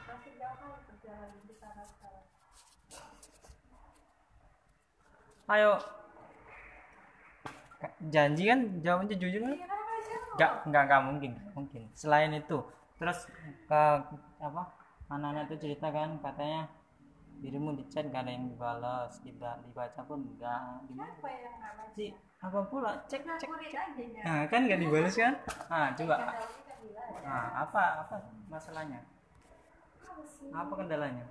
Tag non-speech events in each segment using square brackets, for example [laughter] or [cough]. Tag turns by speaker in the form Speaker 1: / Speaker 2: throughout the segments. Speaker 1: apa berjalan di sana sekarang?
Speaker 2: Ayo. Ka- Janji kan jawabnya jujur kan?
Speaker 1: Iya kan apa sih?
Speaker 2: Enggak, enggak, enggak mungkin, nggak mungkin. Selain itu, terus ke apa? Anak-anak itu cerita kan katanya dirimu di chat gak ada yang dibalas, tidak dibaca pun enggak. Gimana
Speaker 1: Siapa yang namanya?
Speaker 2: sih? Apa pula? Cek
Speaker 1: Nah,
Speaker 2: cek.
Speaker 1: kulit aja ya.
Speaker 2: Nah, kan enggak dibalas kan? Nah, coba
Speaker 1: Nggak tahu kita bilang. ya.
Speaker 2: Nah, apa apa masalahnya?
Speaker 1: Apa sih?
Speaker 2: Apa kendalanya?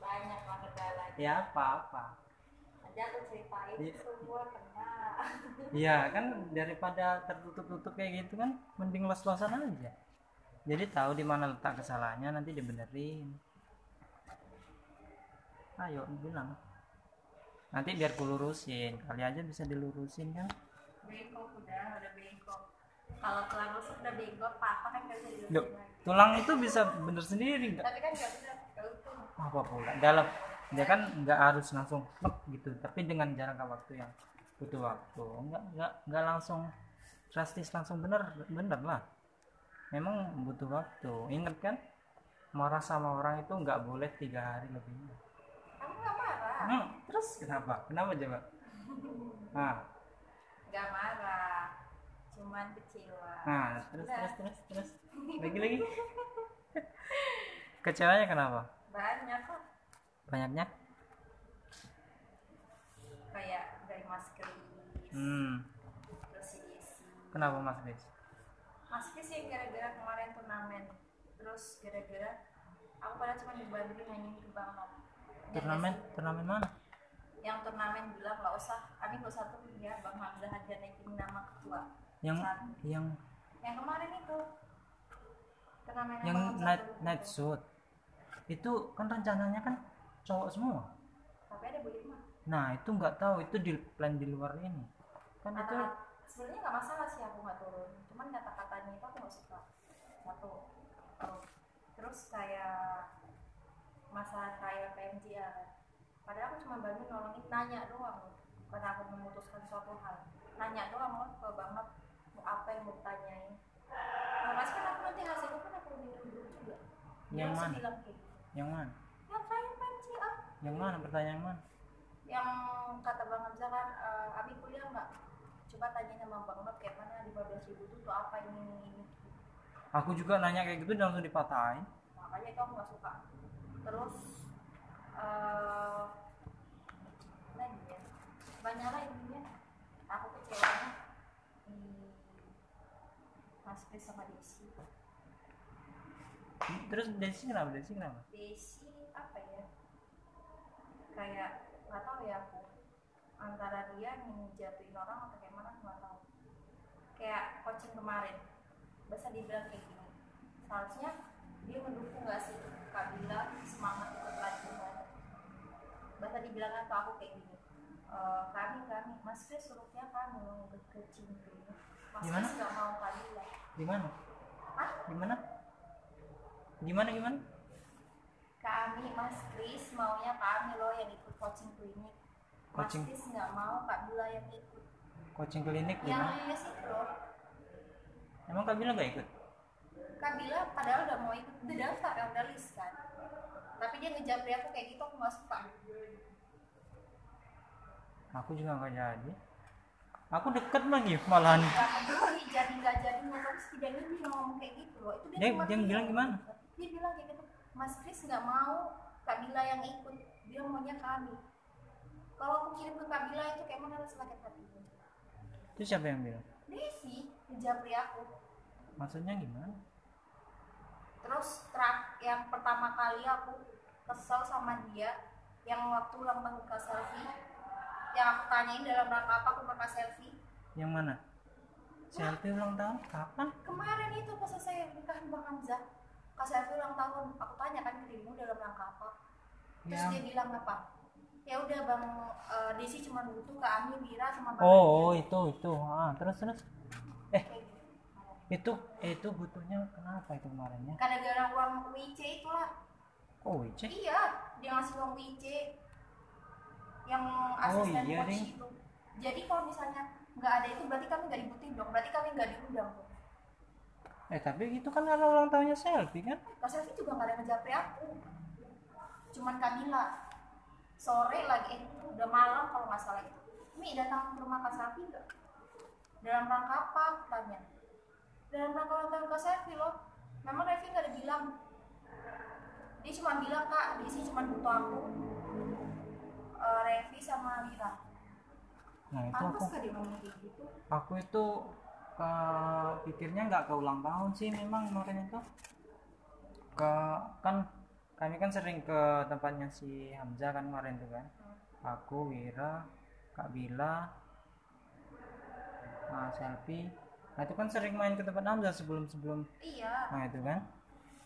Speaker 1: Banyak lah kendalanya.
Speaker 2: Ya apa-apa.
Speaker 1: Aja aku ceritain
Speaker 2: Iya.
Speaker 1: semua kena. [laughs]
Speaker 2: Iya kan daripada tertutup-tutup kayak gitu kan mending los-losan aja. Jadi tahu di mana letak kesalahannya nanti dibenerin. Ayo bilang. Nanti biar kulurusin, kali aja bisa dilurusin kan.
Speaker 1: Bengkok udah, udah bengkok. Kalau tulang rusuk udah bengkok, apa kan nggak bisa
Speaker 2: Loh,
Speaker 1: diurusin lagi.
Speaker 2: tulang itu bisa bener sendiri nggak?
Speaker 1: Tapi kan nggak bisa keutuh.
Speaker 2: Apa pula? Dalam dia kan nggak harus langsung plek gitu, tapi dengan jangka waktu yang butuh waktu. Nggak nggak nggak langsung drastis langsung bener bener lah. Memang butuh waktu. Ingat kan? Marah sama orang itu nggak boleh tiga hari lebih.
Speaker 1: Kamu nggak marah?
Speaker 2: Hmm, terus kenapa? Kenapa coba? Nah,
Speaker 1: Nggak marah. Cuman kecewa.
Speaker 2: nah, terus terus terus terus. Lagi lagi. Kecewanya kenapa?
Speaker 1: Banyak kok.
Speaker 2: Banyaknya?
Speaker 1: Kayak dari Mas Kris,
Speaker 2: Hmm,
Speaker 1: terus si Desi.
Speaker 2: kenapa Mas Bis?
Speaker 1: Maksudnya sih gara-gara kemarin turnamen Terus gara-gara Aku padahal cuma dibantu nyanyiin ke Bang Nom Ya,
Speaker 2: Turnamen, turnamen mana?
Speaker 1: guys, Yang turnamen bilang gak usah Kami gak usah turun ya Bang Hamzah aja naikin nama ketua
Speaker 2: Yang
Speaker 1: Satu.
Speaker 2: yang
Speaker 1: Yang kemarin itu Turnamen
Speaker 2: yang
Speaker 1: Bang Hamzah
Speaker 2: night
Speaker 1: turun
Speaker 2: night
Speaker 1: itu.
Speaker 2: shoot itu kan rencananya kan cowok semua
Speaker 1: Tapi ada Bu Irma
Speaker 2: nah itu nggak tahu itu di plan di luar ini kan itu
Speaker 1: Anak- Nah, sebenarnya gak masalah sih aku gak turun Cuman kata-katanya itu aku gak suka Satu Terus kayak Masalah kayak PMJR Padahal aku cuma bantu nolongin nanya doang Karena aku memutuskan suatu hal Nanya doang loh ke Bang Nop mau Apa yang mau tanyain Nah, Mas kan aku nanti hasilnya kan aku udah dulu juga Dia
Speaker 2: Yang
Speaker 1: langsung
Speaker 2: mana?
Speaker 1: bilang kayak gitu.
Speaker 2: yang mana
Speaker 1: Yang kayak PMJR
Speaker 2: yang mana pertanyaan mana
Speaker 1: yang kata Bang Hamzah kan eh, Abi kuliah nggak coba tanya sama Bang Not kayak mana di 15 ribu itu tuh apa ini ini ini
Speaker 2: aku juga nanya kayak gitu dan langsung dipatahin
Speaker 1: makanya itu aku nggak suka terus eh lagi ya banyak lah intinya aku kecewanya di Mas Chris sama Desi
Speaker 2: terus Desi kenapa Desi kenapa
Speaker 1: Desi apa ya kayak nggak tahu ya aku antara dia ngejatuhin orang atau kayak mana aku nggak tahu kayak coaching kemarin bahasa dibilang kayak gini seharusnya dia mendukung nggak sih Kabila semangat ikut latihan bahasa dibilang kan ke aku kayak gini e, kami kami Mas Kris suruhnya kamu ke ke Cimbring. Mas
Speaker 2: Gimana?
Speaker 1: Kris nggak mau Kabila
Speaker 2: di mana
Speaker 1: Hah?
Speaker 2: di mana gimana gimana
Speaker 1: kami Mas Kris maunya kami loh yang ikut coaching klinik Mas
Speaker 2: Coaching.
Speaker 1: Kris nggak mau Kak Bila yang ikut Iya,
Speaker 2: coaching klinik
Speaker 1: yang
Speaker 2: gimana
Speaker 1: lulus itu loh
Speaker 2: emang Kak Bila nggak ikut
Speaker 1: Kak Bila padahal udah mau ikut udah daftar ya, udah list kan tapi dia ngejabri aku kayak gitu aku nggak suka
Speaker 2: aku juga nggak jadi aku deket lagi malahan
Speaker 1: nggak peduli jadi nggak jadi ngomong tidak ini dia ngomong kayak gitu loh itu dia,
Speaker 2: Dia-
Speaker 1: cuma
Speaker 2: dia
Speaker 1: bilang.
Speaker 2: bilang gimana?
Speaker 1: dia bilang kayak gitu Mas Kris nggak mau Kak Bila yang ikut dia maunya kami kalau aku kirim ke Kak Bila itu kayak mana sakit hatinya
Speaker 2: itu siapa yang bilang
Speaker 1: Desi ngejabri aku
Speaker 2: maksudnya gimana
Speaker 1: terus terak yang pertama kali aku kesel sama dia yang waktu ulang tahun ke selfie yang aku tanyain dalam rangka apa aku bakal selfie
Speaker 2: yang mana selfie ulang tahun kapan
Speaker 1: kemarin itu pas saya nikahan bang Hamzah ke selfie ulang tahun aku tanya kan ke dirimu dalam rangka apa terus
Speaker 2: Ya.
Speaker 1: dia bilang apa ya udah bang eh, Desi cuma butuh ke Ami Mira sama bang
Speaker 2: Oh, iya. Eh. oh, itu itu. Ah, terus terus
Speaker 1: Kayak gitu.
Speaker 2: itu eh, itu butuhnya kenapa itu kemarin ya?
Speaker 1: karena gara uang WC itulah
Speaker 2: Oh, cek.
Speaker 1: Iya, dia ngasih uang WC yang asisten coach
Speaker 2: iya, Ding.
Speaker 1: itu. Jadi kalau misalnya nggak ada itu berarti kami nggak dibutuhin dong. Berarti kami nggak diundang dong.
Speaker 2: eh tapi itu kan kalau ulang tahunnya selfie kan
Speaker 1: Kak Selvi juga gak ada yang ngejapri aku Cuman Kamila Sore lagi, eh, udah malam kalau nggak salah itu Mi datang ke rumah Kak Selvi nggak? Dalam rangka apa? Aku Tanya Dalam rangka ulang tahun Kak Selvi loh Memang Revi nggak ada bilang Dia cuma bilang kak, dia sih cuma butuh aku eh, Revi sama Mira
Speaker 2: nah itu aku
Speaker 1: Pantas gak dia ngomong kayak gitu?
Speaker 2: aku itu ke pikirnya nggak ke ulang tahun sih memang kemarin itu ke kan kami kan sering ke tempatnya si Hamzah kan kemarin tuh kan aku Wira Kak Bila nah, Selfie nah itu kan sering main ke tempat Hamzah sebelum sebelum
Speaker 1: Iya
Speaker 2: nah itu kan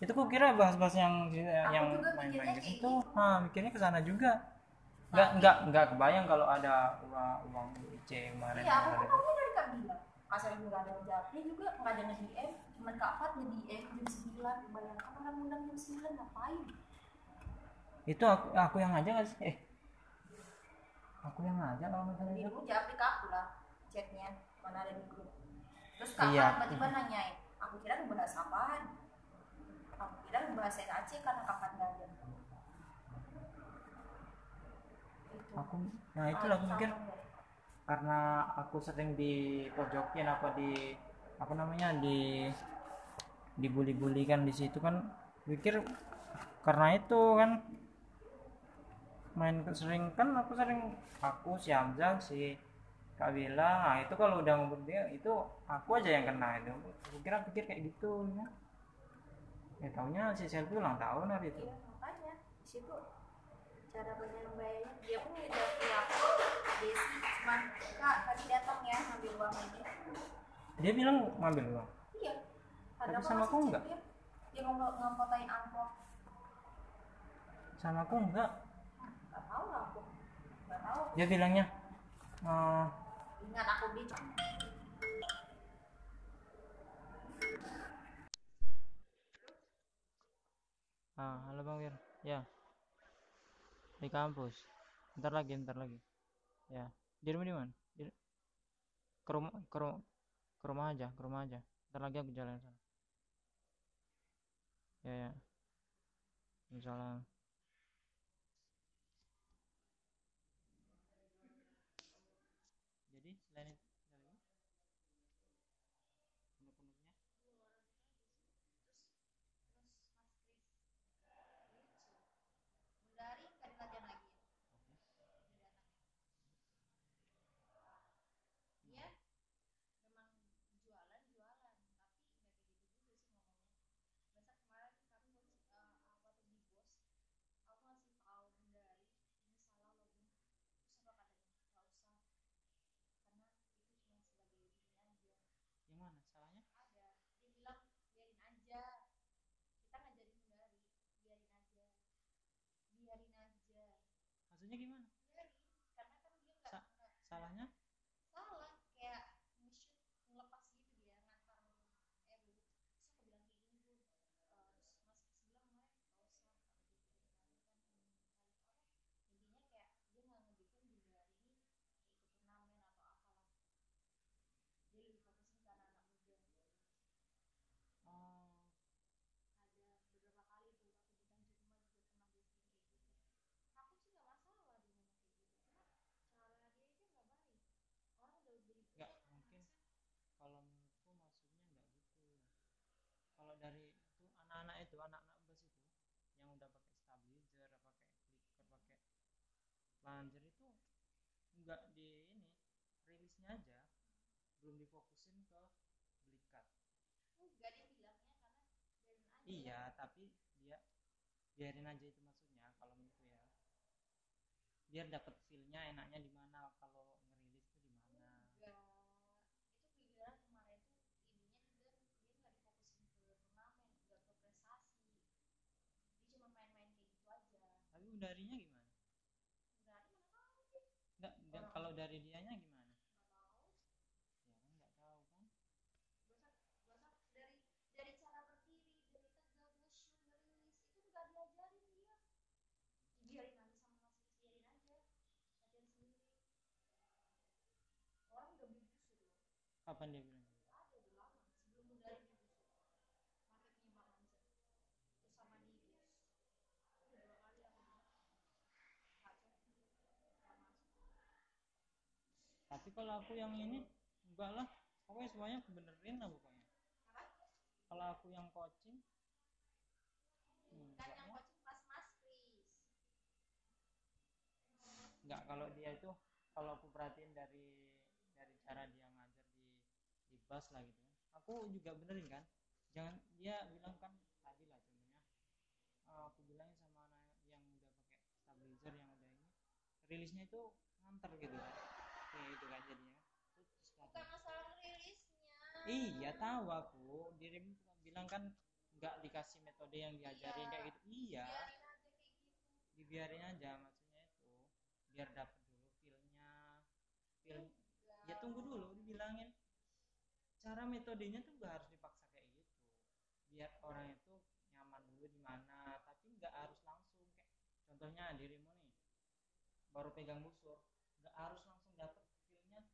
Speaker 2: itu ku kira bahas-bahas yang eh, yang
Speaker 1: juga
Speaker 2: main-main
Speaker 1: mikirnya
Speaker 2: di
Speaker 1: kayak gitu.
Speaker 2: situ nah mikirnya ke sana juga nggak nggak nggak kebayang kalau ada uang uang IC kemarin
Speaker 1: Iya, aku
Speaker 2: kemarin.
Speaker 1: kan tahunya dari Kak Bila Kak Selvi nggak ada yang japri juga, nggak ada yang DM Cuman Kak Fat nge-DM jam 9 Bayangkan orang undang jam 9, ngapain?
Speaker 2: itu aku, aku yang ngajak gak sih eh aku yang ngajak kalau misalnya
Speaker 1: Jadi
Speaker 2: itu
Speaker 1: aku jawab di aku lah chatnya mana ada di grup. Terus kakak
Speaker 2: Iya.
Speaker 1: tiba-tiba nanyain, aku kira ngebahas apaan? Aku kira ngebahas SAC karena kakak nggak ada. Itu.
Speaker 2: aku nah itulah aku
Speaker 1: Ah,
Speaker 2: mikir
Speaker 1: sama nggak?
Speaker 2: karena aku sering di pojokin apa di apa namanya di dibully-bulikan di situ kan pikir karena itu kan main ke- sering kan aku sering aku si Hamzah si Kak Bella nah itu kalau udah ngumpul dia itu aku aja yang kena itu aku kira pikir kayak gitu ya ya taunya si Selvi ulang tahun hari itu
Speaker 1: Iya makanya di situ cara penyampaiannya dia pun udah siap. Dia sih cuman kak tadi datang ya ngambil uang ini.
Speaker 2: dia bilang ngambil uang
Speaker 1: Iya.
Speaker 2: Tapi
Speaker 1: apa
Speaker 2: sama
Speaker 1: nggak sih
Speaker 2: aku
Speaker 1: chat
Speaker 2: nggak?
Speaker 1: Dia, dia ngomong ngompotain amplop.
Speaker 2: sama aku enggak
Speaker 1: Gak tahu lah aku. Gak tahu.
Speaker 2: dia bilangnya "Eh,
Speaker 1: Ingat aku di
Speaker 2: Ah, halo Bang Wir. Ya. Di kampus. Ntar lagi, ntar lagi. Ya. Di rumah di mana? Di... Ke rumah, ke rumah, ke rumah aja, ke rumah aja. Ntar lagi aku jalan sana. Ya, ya. Misalnya. Jadi selain itu,
Speaker 1: dari dari latihan lagi ya dia memang jualan jualan tapi nggak kayak gitu juga sih ngomongnya masa kemarin kami harus apa tuh di bos aku ngasih tahu dari ini salah loh Bun." terus apa katanya nggak usah karena itu cuma sebagai ini aja
Speaker 2: yang mana salahnya?
Speaker 1: ada dia bilang biarin aja kita ngajarin dari biarin aja biarin aja biarin
Speaker 2: Maksudnya gimana?
Speaker 1: karena kan dia nggak
Speaker 2: Sa-
Speaker 1: nggak
Speaker 2: Salahnya?
Speaker 1: salah kayak nge-shoot ngelepas gitu dia ngakar eh bu terus aku bilang kayak gini Eh, bu Eh, terus mas Chris bilang kemarin nggak usah kata dia kayak gitu kan hmm, kali apa intinya kayak dia nggak ngedukung juga ini kayak ikut turnamen atau apalah dia lebih fokusin ke anak anak muda
Speaker 2: Oh,
Speaker 1: ada beberapa kali tuh aku bilang di rumah juga pernah dia sering kayak gitu aku sih nggak masalah dia ngomong kayak gitu cuma cara dia itu nggak baik orang udah beli
Speaker 2: Nggak, mungkin kalau menurutku maksudnya nggak gitu kalau dari itu anak-anak itu anak-anak bus itu yang udah pakai stabilizer pakai clicker pakai plunger itu nggak di ini rilisnya aja belum difokusin ke belikat
Speaker 1: enggak dia bilangnya karena biarin aja
Speaker 2: iya tapi dia biarin aja itu maksudnya kalau menurutku ya biar dapet feelnya enaknya di mana kalau ngerilis tuh di mana
Speaker 1: enggak itu giliran kemarin tuh ininya juga dia nggak difokusin ke turnamen nggak ke prestasi dia cuma main-main kayak gitu aja
Speaker 2: tapi udarinya gimana
Speaker 1: berani mana tahu sih
Speaker 2: Nggak, nggak,
Speaker 1: Orang-
Speaker 2: kalau dari dianya gimana?
Speaker 1: nggak tahu
Speaker 2: Ya kan nggak tahu kan.
Speaker 1: Bahkan dari dari cara berdiri, dari tegak, nge-shoot, ngerilis itu nggak diajarin dia. Biarin aja sama Mas Rizky, biarin aja. Latihan sendiri. Orang udah beli busur loh.
Speaker 2: Kapan dia bilang? gitu.
Speaker 1: Ada udah lama. Sebelum dari beli busur.
Speaker 2: tapi kalau aku yang ini enggak lah pokoknya semuanya aku benerin lah pokoknya kalau aku yang coaching
Speaker 1: kan yang
Speaker 2: enggak,
Speaker 1: coaching pas mas Kris
Speaker 2: enggak kalau dia itu kalau aku perhatiin dari dari cara dia ngajar di di bus lah gitu kan aku juga benerin kan jangan dia bilang kan tadi lah contohnya eh, aku bilangin sama anak yang udah pakai stabilizer yang udah ini rilisnya itu nganter gitu kan ya itu kan jadinya Terus kata-
Speaker 1: bukan masalah rilisnya
Speaker 2: Iya tahu aku dirimu bilang kan nggak dikasih metode yang diajarin
Speaker 1: Iya.
Speaker 2: kayak gitu. Iya,
Speaker 1: biarin aja kayak gitu
Speaker 2: dibiarin aja maksudnya itu biar dapet dulu feel-nya. Feel
Speaker 1: Enggak.
Speaker 2: ya tunggu dulu dibilangin cara metodenya tuh nggak harus dipaksa kayak gitu. Biar orang itu nyaman dulu di mana, tapi nggak harus langsung kayak contohnya dirimu nih baru pegang busur nggak harus langsung dapet feel-nya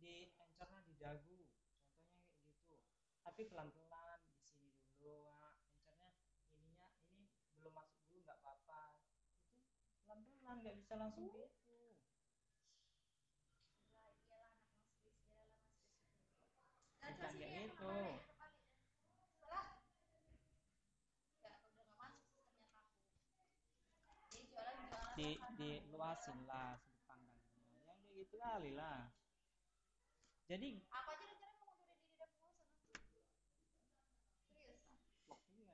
Speaker 2: di encernya di dagu contohnya kayak gitu tapi pelan-pelan di sini dulu ah, encernya ininya ini belum masuk dulu nggak apa-apa itu pelan-pelan nggak bisa langsung gitu
Speaker 1: Lah, iyalah anak mas Kris iyalah mas Kris
Speaker 2: Bukan
Speaker 1: Nah, coba sini
Speaker 2: kayak
Speaker 1: ya,
Speaker 2: gitu.
Speaker 1: kembali, kembali. Lah. Enggak, udah nggak masuk sistemnya aku. Jadi jualan jualan
Speaker 2: di
Speaker 1: makanan.
Speaker 2: di luasin lah sudut pandangnya yang kayak gitu kali lah jadi
Speaker 1: Apa aja rencana mengundurin diri dari pengurusan aku? Serius?
Speaker 2: waktunya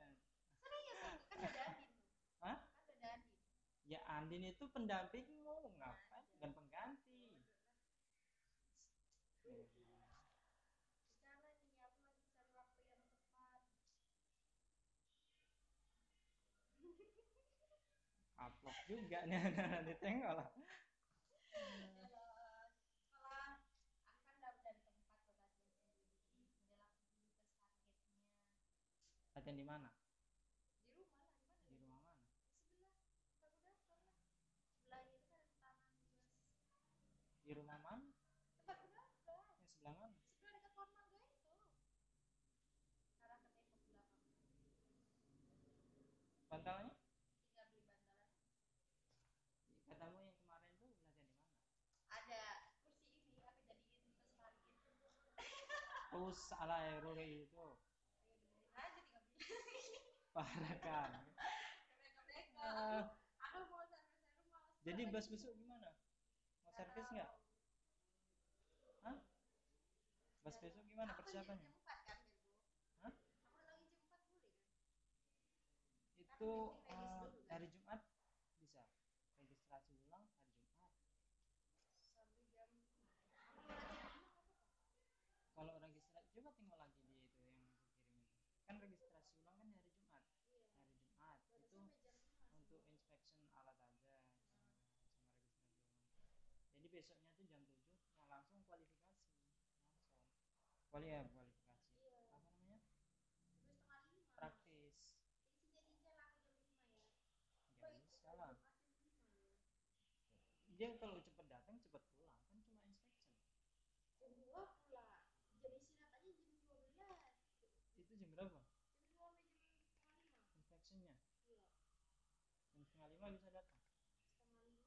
Speaker 1: Serius aku kan ada Andin.
Speaker 2: Hah?
Speaker 1: Kan ada Andin.
Speaker 2: ya Andin itu pendampingmu ngapain bukan pengganti Hmm.
Speaker 1: Rencana nih aku lagi cari waktu yang tepat.
Speaker 2: upload juga nih [laughs] nanti tengok lah
Speaker 1: Kalau- kalau aku kan udah dari tempat lokasinya sendiri, kemudian aku dulu ke targetnya
Speaker 2: latihan di mana
Speaker 1: di rumah lah, gimana
Speaker 2: di rumah
Speaker 1: sebelah tak
Speaker 2: mana
Speaker 1: udah pernah sebelah itu kan ada taman luas
Speaker 2: di rumah mana
Speaker 1: tempat udah
Speaker 2: yang sebelah mana
Speaker 1: sebelah dekat pohon mangga itu arah ke tembok belakang
Speaker 2: bantalnya
Speaker 1: tinggal beli bantalan
Speaker 2: katamu yang kemarin tuh latihan di mana
Speaker 1: ada kursi ini aku jadiin terus gitu. target
Speaker 2: terus ala hero kayak gitu
Speaker 1: ayo dengerin aja tinggal beli
Speaker 2: parah kan
Speaker 1: mereka mereka
Speaker 2: Ah,
Speaker 1: aku mau sampai saya rumah
Speaker 2: jadi bus besok gimana mau servis nggak Hah? bus besok gimana persiapannya
Speaker 1: jempat kan Bebo
Speaker 2: Hah?
Speaker 1: aku lagi jempat boleh kan
Speaker 2: itu eh, hari Jumat bisa registrasi ulang hari Jumat
Speaker 1: sampai jam aku mau lagi
Speaker 2: kalau registrasi coba tengok lagi di itu yang aku kirim itu. kan registrasi ulang kan hari Jumat
Speaker 1: Iya,
Speaker 2: hari Jumat itu
Speaker 1: sampai jam ya.
Speaker 2: untuk inspection alat aja eh, sama sama registrasi ulang jadi besoknya tuh jam 7 yang langsung kualifikasi langsung kuali ya kualifikasi apa namanya
Speaker 1: terus setengah lima
Speaker 2: praktis
Speaker 1: jadi jadinya lah aku jam lima ya
Speaker 2: nggak bisa lah dia kalau cepet datang cepet pulang kan cuma inspection
Speaker 1: jam dua pula jam istirahat aja jam dua belas
Speaker 2: itu jam berapa
Speaker 1: jam dua sampai jam setengah lima
Speaker 2: inspectionnya
Speaker 1: Iya.
Speaker 2: jam setengah lima bisa datang
Speaker 1: setengah lima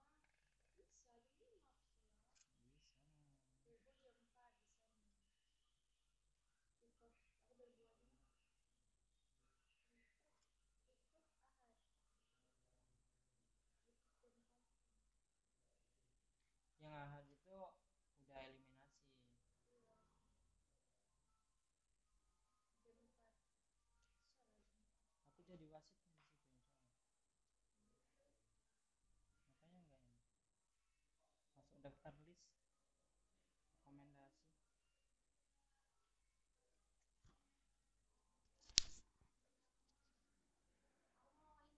Speaker 1: bisa jam lima pulang
Speaker 2: bisa
Speaker 1: Bebo jam empat di sana ikut aku dari dua lima ikut ikut ahad ikut jam empat
Speaker 2: yang ahad itu udah eliminasi
Speaker 1: dua jam empat sore
Speaker 2: aku jadi wasit di situ insya Allah. makanya enggak ini masuk daftar list